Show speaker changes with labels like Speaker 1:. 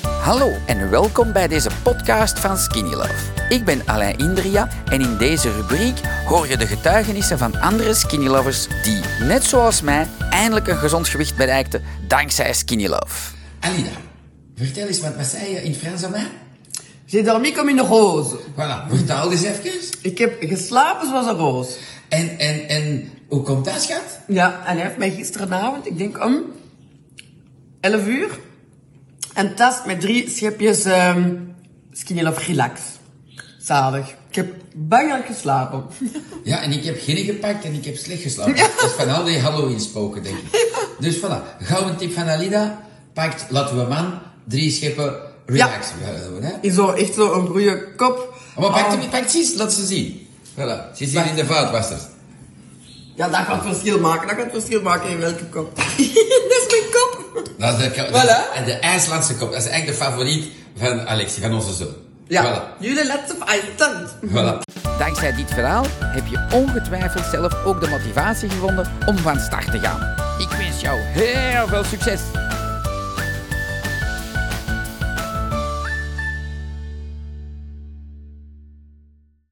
Speaker 1: Hallo en welkom bij deze podcast van Skinny Love. Ik ben Alain Indria en in deze rubriek hoor je de getuigenissen van andere Skinny Lovers die, net zoals mij, eindelijk een gezond gewicht bereikten dankzij Skinny Love.
Speaker 2: Alida, vertel eens, wat, wat zei je in Frans aan mij?
Speaker 3: J'ai dormi comme une rose.
Speaker 2: Voilà, vertel eens even.
Speaker 3: Ik heb geslapen zoals een roos.
Speaker 2: En, en, en hoe komt dat, schat?
Speaker 3: Ja, en hij heeft mij gisteravond, ik denk om 11 uur, een tas met drie schepjes ehm Skinny Love Relax. Zalig. Ik heb bang geslapen.
Speaker 2: Ja, en ik heb geen gepakt en ik heb slecht geslapen. Dat is van al die Halloween spoken, denk ik. Dus voilà, gauw een tip van Alida. Pakt, laten we man, drie scheppen, relax. eh, Hè?
Speaker 3: Is zo echt zo een goede kop.
Speaker 2: Maar
Speaker 3: Oh,
Speaker 2: pakt hem, pakt precies, laat ze zien. Voilà, ze is hier in de vaatwasser.
Speaker 3: Ja, dat gaat verschil maken. Dat gaat verschil maken in welke kop. dat is mijn kop.
Speaker 2: Dat is de, dat is-
Speaker 3: Voilà.
Speaker 2: en de IJslandse kop, dat is echt de favoriet van Alexie, van onze zoon.
Speaker 3: Ja,
Speaker 2: Voilà.
Speaker 3: jullie laten op ijstand.
Speaker 2: Voilà.
Speaker 1: Dankzij dit verhaal heb je ongetwijfeld zelf ook de motivatie gevonden om van start te gaan. Ik wens jou heel veel succes!